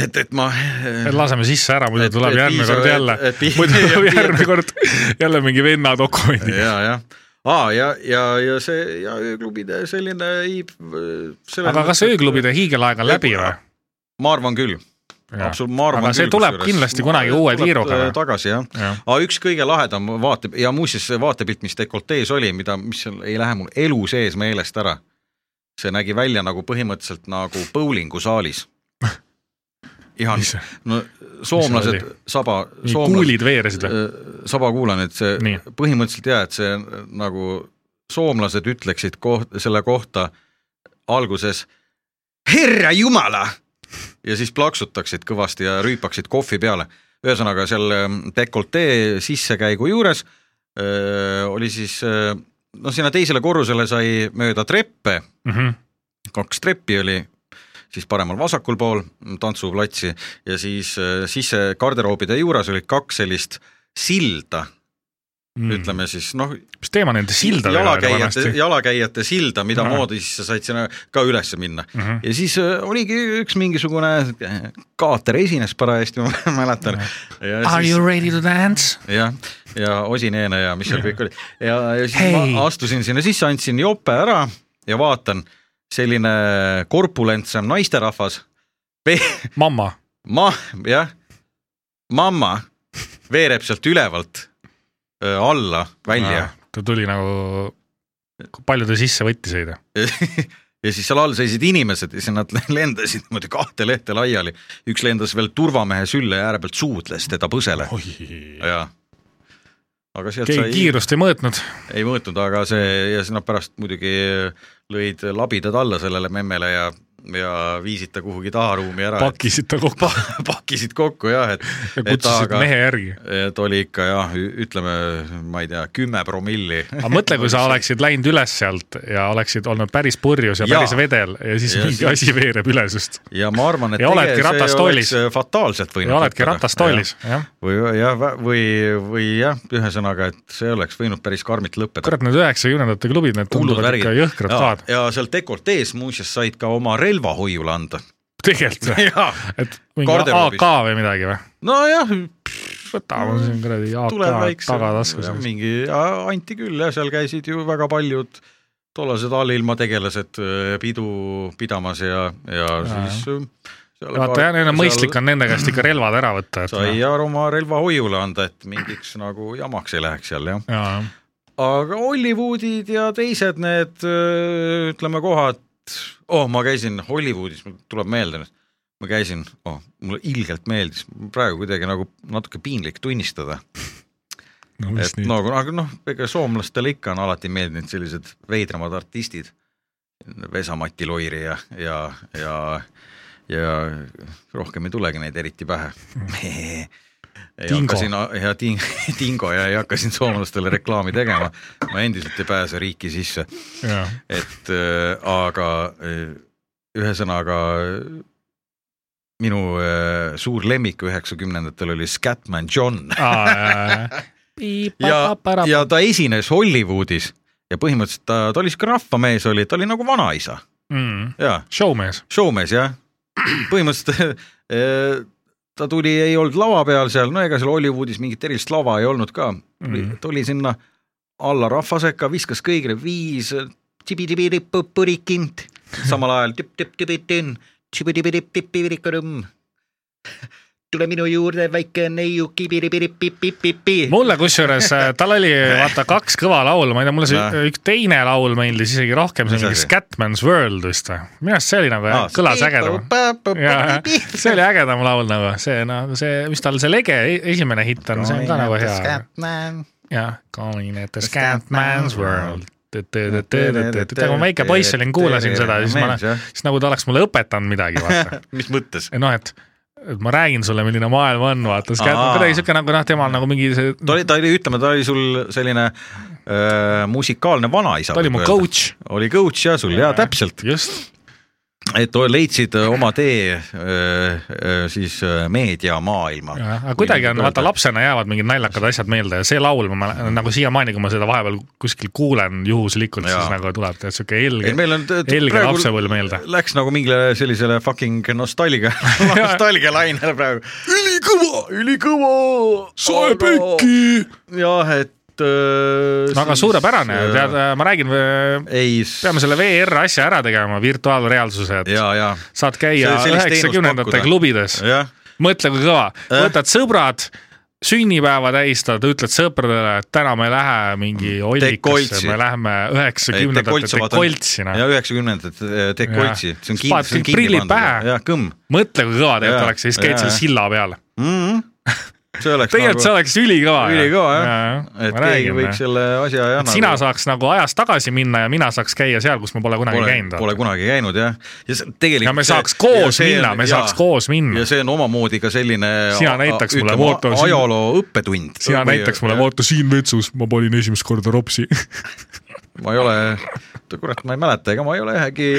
B: et , et ma .
C: et laseme sisse ära , muidu
B: Et-
C: tuleb
B: et
C: järgmine
B: piisab-
C: kord
B: et-
C: jälle
B: et piisab- ,
C: muidu
B: ja
C: tuleb
B: piisab-
C: järgmine kord jälle mingi venna dokumendi .
B: ja , jah , aa ja , ja , ja see ja ööklubide selline . äh,
C: aga kas ööklubide hiigelaeg on läbi või ?
B: ma arvan küll , absoluutselt , ma arvan
C: Aga see
B: küll,
C: tuleb
B: kusjuures.
C: kindlasti kunagi uue
B: Tuleb,
C: tiiruga,
B: äh,
C: või?
B: tagasi jah
C: Jah.
B: aga üks kõige lahedam vaate ja muuseas see vaatepilt , mis dekoltees oli , mida , mis seal ei lähe mul elu sees meelest ära . see nägi välja nagu põhimõtteliselt nagu bowlingu saalis . ihan ,
C: Mis see-
B: no soomlased
C: oli?
B: saba , soomlased ,
C: kuulid veeresid või ?
B: saba äh, kuulan , et see
C: Nii.
B: Nii. põhimõtteliselt jaa , et see äh, nagu soomlased ütleksid koht , selle kohta alguses herra jumala ja siis plaksutaksid kõvasti ja rüüpaksid kohvi peale . ühesõnaga seal ähm, dekoltee sissekäigu juures öö, oli siis öö, no sinna teisele korrusele sai mööda treppe ,
C: Mhm.
B: kaks treppi oli siis paremal-vasakul pool mm, tantsuplatsi ja siis öö, sisse garderoobide juures olid kaks sellist silda mm. , ütleme siis noh ,
C: mis teema nende sildadega Hmm. oli
B: jalakäijate ,
C: vanasti ?
B: jalakäijate silda , mida
C: Ahah.
B: moodi siis sa said sinna ka üles minna
C: Mhm.
B: ja siis äh, oligi üks mingisugune äh, kaater esines parajasti , ma mäletan .
C: Are you ready to dance ?
B: jah , ja Osineene ja mis seal kõik oli ja , ja siis
C: Hei!
B: hey. ma astusin sinna sisse , andsin jope ära ja vaatan , selline korpulentsem naisterahvas ,
C: mamma ,
B: ma , jah , mamma veereb sealt ülevalt öö, alla välja
C: ta tuli nagu , palju ta sisse võttis heida ?
B: ja siis seal all seisid inimesed ja siis nad lendasid niimoodi kahte lehte laiali . üks lendas veel turvamehe sülle ja äärepealt suudles teda põsele . jaa . aga sealt
C: keegi
B: sai ,
C: kiirust ei mõõtnud .
B: ei mõõtnud , aga see ja siis nad pärast muidugi lõid labidad alla sellele memmele ja , ja viisid ta kuhugi taharuumi ära ,
C: pakkisid ta kokku
B: pakkisid kokku jah , et ,
C: ja
B: et
C: kutsusid
B: aga ,
C: mehe järgi .
B: et oli ikka jah , ütleme , ma ei tea , kümme promilli
C: aga mõtle , kui sa oleksid läinud üles sealt ja oleksid olnud päris purjus ja
B: Jaa.
C: päris vedel ja siis
B: Ja
C: mingi
B: siis-
C: asi veereb üle sinust .
B: ja ma arvan , et
C: Ja oledki
B: tegelikult see
C: ratastoolis.
B: oleks fataalselt võinud
C: ja oledki
B: lõppeda.
C: ratastoolis , jah .
B: või jah , või , või jah , ühesõnaga , et see oleks võinud päris karmilt lõppeda .
C: kurat , need üheksakümnendate klubid , need tunduvad ikka jõhkrad
B: ja,
C: kaad .
B: ja seal dekoltees muuseas said ka oma relva hoiule anda .
C: tegelikult ,
B: jaa ,
C: et mingi
B: Garderoobis.
C: AK või midagi või ?
B: nojah ,
C: võtame siin kuradi
B: tuleb
C: AK
B: Mm. väikse ,
C: tagataskus .
B: mingi , anti küll jah , seal käisid ju väga paljud tollased allilmategelased öö, pidu pidamas ja , ja siis äh, seal
C: vaata jah , neil on mõistlik on nende käest ikka relvad ära võtta , et . noh.
B: sai jah oma relva hoiule anda , et mingiks nagu jamaks ei läheks seal jah .
C: jaa ,
B: aga Hollywoodid ja teised äh, need öö, ütleme kohad , oh , ma käisin Hollywoodis , mul tuleb meelde nüüd , ma käisin oh, , mulle ilgelt meeldis , praegu kuidagi nagu natuke piinlik tunnistada ,
C: no
B: et
C: mis nii no. ,
B: nagu , aga noh , ega soomlastele ikka on alati meeldinud sellised veidramad artistid , Vesa-Mati Loiri ja , ja , ja , ja rohkem ei tulegi neid eriti pähe . ei
C: Dingo.
B: hakka siin , ja ting- , Dingo ja ei hakka siin soomlastele reklaami tegema , ma endiselt ei pääse riiki sisse
C: jaa ,
B: et äh, aga äh, ühesõnaga äh, minu äh, suur lemmik üheksakümnendatel oli Scatman John ja , ja ta esines Hollywoodis ja põhimõtteliselt ta , ta oli sihuke rahvamees oli , ta oli nagu vanaisa ja
C: Mm. showmees ,
B: showmees jah , põhimõtteliselt äh, ta tuli , ei olnud lava peal seal , no ega seal Hollywoodis mingit erilist lava ei olnud ka
C: Mhm.
B: mm. , tuli sinna alla rahva sekka , viskas kõigile viis eh, tšibidibidipõrikint , samal ajal tüp-tüp-tüpitin , tšibidibidipipirikõrõmm . tule minu juurde , väike neiu kibiribiripipipipi .
C: mulle kusjuures äh, tal oli vaata kaks kõva laulu , ma ei tea , mulle see
B: Näe.
C: üks teine laul meeldis isegi rohkem , see
B: Mis
C: on mingi
B: asi?
C: Scatman's World vist või , minu arust see oli nagu ah, kõlas ägedam . jaa , see oli ägedam laul nagu see , no see , mis tal see lege e- esimene hitt on , see on ka nagu hea . jah , Calling at the Scatman's World . kui ma väike poiss olin , kuulasin seda , siis ma , siis nagu ta oleks mulle õpetanud midagi , vaata .
B: mis mõttes ?
C: noh , et , et ma räägin sulle , milline maailm on , vaata ,
B: Aa.
C: kuidagi siuke nagu noh , temal nagu mingi see ,
B: ta oli , ta oli , ütleme , ta oli sul selline öö, musikaalne vanaisa .
C: ta oli mu . coach .
B: oli coach ja sul ja täpselt ,
C: just ,
B: et to- leidsid oma tee öö, öö, siis öö, meediamaailma .
C: aga kuidagi on , vaata . lapsena jäävad mingid naljakad asjad meelde ja see laul , ma mäletan nagu siiamaani , kui ma seda vahepeal kuskil kuulen juhuslikult ,
B: Mm.
C: siis
B: Jaa.
C: nagu tuleb tead siuke helge
B: ei , meil on t- t-
C: helge lapsepõlv meelde .
B: läks nagu mingile sellisele fucking nostalgia , nostalgia lainele praegu . ülikõva , ülikõva .
C: Soe peki! .
B: jah , et .
C: no aga suurepärane , tead , ma räägin ,
B: ei .
C: peame selle VR asja ära tegema , virtuaalreaalsuse , et
B: ja , ja ,
C: saad käia
B: See- sellist teenust
C: üheksakümnendate
B: pakkuda.
C: klubides ,
B: jah
C: mõtle kui kõva ,
B: Äh.
C: võtad sõbrad , sünnipäeva tähistad , ütled sõpradele , et täna me ei lähe mingi ollikasse ,
B: Mm. koltsi.
C: me läheme
B: Ei,
C: üheksakümnendate
B: Dekoltsi vaata on-
C: dekoltsi , noh
B: ja . üheksakümnendate Dekoltsi , see on
C: Siis paned
B: kindlasti
C: kõik prillid pähe.
B: jah , kõmm
C: mõtle , kui kõva
B: Jaa,
C: tegelikult oleks , siis käid
B: jaa,
C: seal
B: jah.
C: silla peal .
B: mm . -hmm. see oleks
C: tegelikult see
B: nagu
C: oleks ülikõva .
B: ülikõva jah , et
C: ma
B: keegi
C: räägin ,
B: võiks selle asja jah .
C: et sina saaks nagu ajas tagasi minna ja mina saaks käia seal , kus ma pole kunagi
B: pole,
C: käinud .
B: pole kunagi käinud jah , ja see tegelikult .
C: ja me saaks koos minna , me saaks koos minna
B: ja . see on omamoodi ka selline .
C: Sina näitaks mulle mootor-
B: ajaloo õppetund .
C: sina näitaks mulle ,. vaata siin vetsus ma panin esimest korda ropsi .
B: ma ei ole , kurat , ma ei mäleta , ega ma ei ole ühegi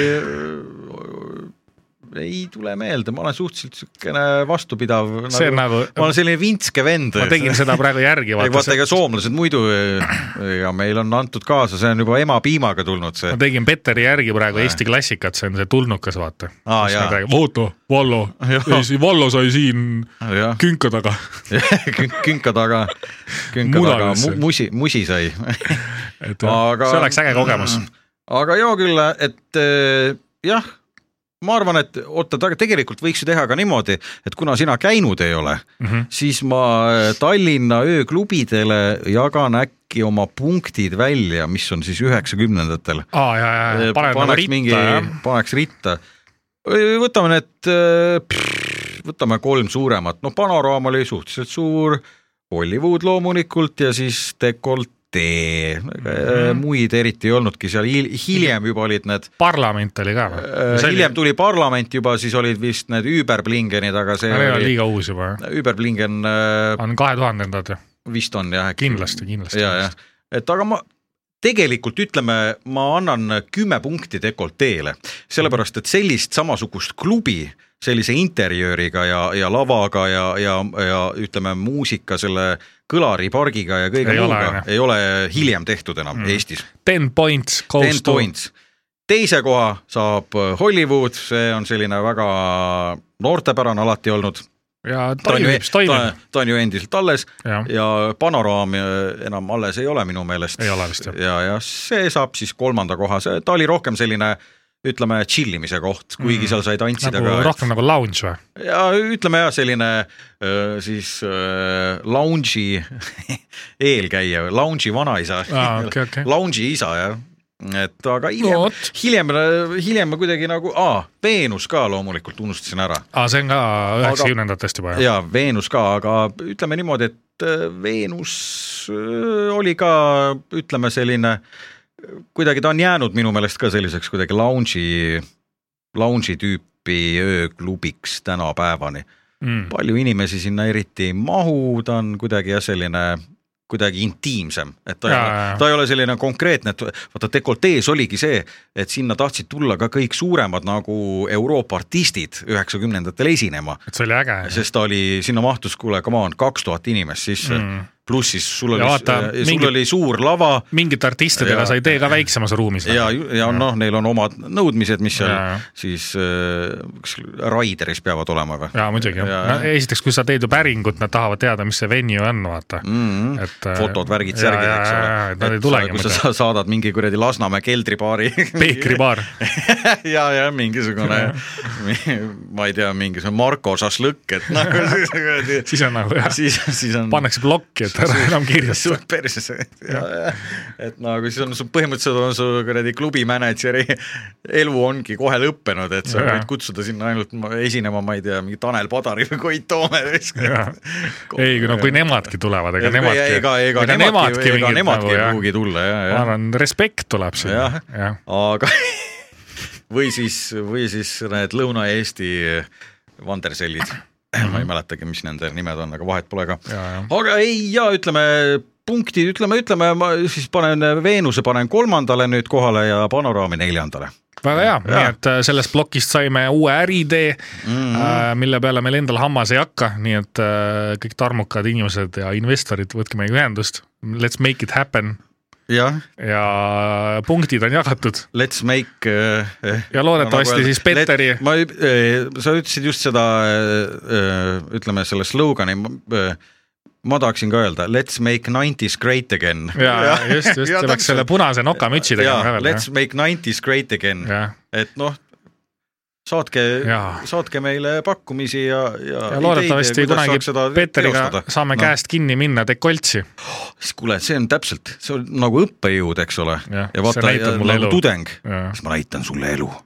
B: ei tule meelde , ma olen suhteliselt siukene vastupidav .
C: see on nagu ,
B: ma olen selline vintske vend .
C: ma tegin seda praegu järgi ,
B: ei vaata ,
C: vaata
B: ega . soomlased muidu ja meil on antud kaasa , see on juba ema piimaga tulnud see
C: ma . tegin Peteri järgi praegu Eesti klassikat , see on see tulnukas , vaata .
B: Aa, jaa.
C: oota , Vallo
B: Jaa. ,
C: Vallo sai siin
B: Ah, jah ,
C: künka taga .
B: künka taga , künka
C: Muna
B: taga
C: üldse.
B: mu- musi , musi sai .
C: et
B: Aga-
C: see oleks äge kogemus .
B: aga joo küll , et eh, jah , ma arvan , et oota , tegelikult võiks ju teha ka niimoodi , et kuna sina käinud ei ole ,
C: Mhm.
B: siis ma eh, Tallinna ööklubidele jagan äkki oma punktid välja , mis on siis üheksakümnendatel
C: aa , ja , ja , paned nagu
B: Äh, paneks mingi
C: ritta , jah .,
B: paneks ritta . võtame need , võtame kolm suuremat , noh , panoraam oli suhteliselt suur , Hollywood loomulikult ja siis dekoltee mm ,
C: Mhm.
B: -hmm. muid eriti ei olnudki seal , hiljem juba olid need äh,
C: parlament oli ka või ?
B: hiljem tuli parlament juba , siis olid vist need Überblingenid , aga see
C: Need on
B: oli ,
C: liiga uus juba ,
B: Überblingen äh,
C: on kahe tuhandendad ju ,
B: vist on jah .
C: kindlasti , kindlasti .
B: ja , jah , et aga ma tegelikult ütleme , ma annan kümme punkti dekolteele , sellepärast et sellist samasugust klubi sellise interjööriga ja , ja lavaga ja , ja , ja ütleme muusika selle kõlaripargiga ja kõige
C: Ei ole,
B: muuga
C: jah.
B: ei ole hiljem tehtud enam
C: Mm.
B: mm. Eestis .
C: Ten points
B: Ten
C: goes to .
B: points . teise koha saab Hollywood , see on selline väga noortepärane alati olnud .
C: ja
B: ta on ju e-
C: toimib ,, toimib .
B: ta on ju endiselt alles
C: jah ,
B: ja panoraam äh, enam alles ei ole minu meelest .
C: Ei ole vist, jah.
B: ja , ja see saab siis kolmanda koha , see , ta oli rohkem selline ütleme , chill imise koht , kuigi mm. seal sai tantsida
C: nagu
B: ka .
C: rohkem nagu lounge või ?
B: ja ütleme jah , selline äh, siis äh, lounge'i eelkäija , lounge'i vanaisa
C: Aa, okei, okei.
B: lounge'i isa jah , et aga hiljem no,
C: No vot. ,
B: hiljem , hiljem ma kuidagi nagu , aa , Veenus ka loomulikult unustasin ära
C: aa , see on ka üheksakümnendatest juba , jah ?
B: ja Veenus ka , aga ütleme niimoodi , et äh, Veenus äh, oli ka , ütleme selline , kuidagi ta on jäänud minu meelest ka selliseks kuidagi lounge'i , lounge'i tüüpi ööklubiks tänapäevani .
C: Mm.
B: palju inimesi sinna eriti ei mahu , ta on kuidagi jah , selline kuidagi intiimsem , et ta ei
C: Jaa,
B: ole
C: jaa. ,
B: ta ei ole selline konkreetne , et vaata dekoltees oligi see , et sinna tahtsid tulla ka kõik suuremad nagu Euroopa artistid üheksakümnendatel esinema ,
C: et see oli äge .
B: sest ta oli , sinna mahtus , kuule , come on , kaks tuhat inimest sisse mm.
C: Mm. ,
B: pluss siis sul oli
C: Ja , vaata,
B: sul mingi...
C: mingi-
B: oli suur lava
C: mingite artistidega
B: Ja-
C: sa ei tee ka väiksemas ruumis .
B: ja , ja noh , neil on omad nõudmised , mis seal
C: Jaa.
B: siis äh, kas Raideris peavad olema või ?
C: jaa , muidugi .
B: Jaa,
C: No,
B: jah.
C: esiteks , kui sa teed ju päringut , nad tahavad teada , mis see venue on , vaata mm. .
B: mm ,
C: Et,
B: -hmm.
C: äh,
B: fotod , värgid ,
C: jaa,
B: särgid ,
C: jaa,
B: eks ole
C: jaa, jaa, . et nad ei tulegi
B: kui sa
C: muidu.
B: sa- saadad mingi kuradi Lasnamäe keldribaari .
C: peekribaar ,
B: ja , ja mingisugune , ma ei tea , mingisugune Marko šašlõkk , et nagu siis kuradi ,
C: siis on nagu jah ,
B: siis , siis on .
C: pannakse plokki , et ära enam kirjasta .
B: sul perses , et nagu siis on su põhimõtteliselt on su kuradi klubi mänedžeri elu ongi kohe lõppenud , et sa
C: Jaa.
B: võid kutsuda sinna ainult ma- esinema , ma ei tea , mingi Tanel Padari või Koit Toome .
C: Jaa. ei , no kui nemadki tulevad , ega
B: ega ,
C: nemadki .
B: ega , ega nemadki , ega nemadki ei pruugi tulla , ja ,
C: ma
B: ja .
C: arvan , respekt tuleb sinna
B: Jah. ,
C: jah .
B: aga või siis , või siis need Lõuna-Eesti vandersellid , ma ei mäletagi , mis nende nimed on , aga vahet pole ka .
C: Jaa, jah.
B: aga ei ja ütleme punktid , ütleme , ütleme , ma siis panen Veenuse panen kolmandale nüüd kohale ja Panoraami neljandale .
C: väga hea ,
B: Jaa.
C: nii et äh, sellest plokist saime uue äriidee mm , -hmm.
B: Mhm.
C: mille peale meil endal hammas ei hakka , nii et äh, kõik tarmukad inimesed ja investorid , võtke meiega ühendust . Let's make it happen
B: jah ,
C: ja punktid on jagatud
B: let's make äh, .
C: ja loodetavasti siis Petteri ,
B: ma , sa ütlesid just seda , ütleme selle slogan'i , ma tahaksin ka öelda let's make nineties great again .
C: ja just , just ,
B: ja
C: ta peaks selle punase nokamütsi tegema ka
B: jaa ,
C: veel
B: let's . make nineties great again ,
C: jah ,
B: et noh , saatke
C: Jaa. ,
B: saatke meile pakkumisi ja , ja,
C: ja loodetavasti
B: ideid ja kuidas
C: kunagi
B: saaks seda
C: Peteriga
B: teostada. Noh.
C: saame no. käest kinni minna dekoltsi .
B: siis kuule , see on täpselt , see on nagu õppejõud , eks ole ,
C: Jah,
B: ja
C: see
B: vaata ,
C: näitab mulle
B: nagu
C: elu.
B: tudeng ,
C: Jah.
B: siis ma näitan sulle elu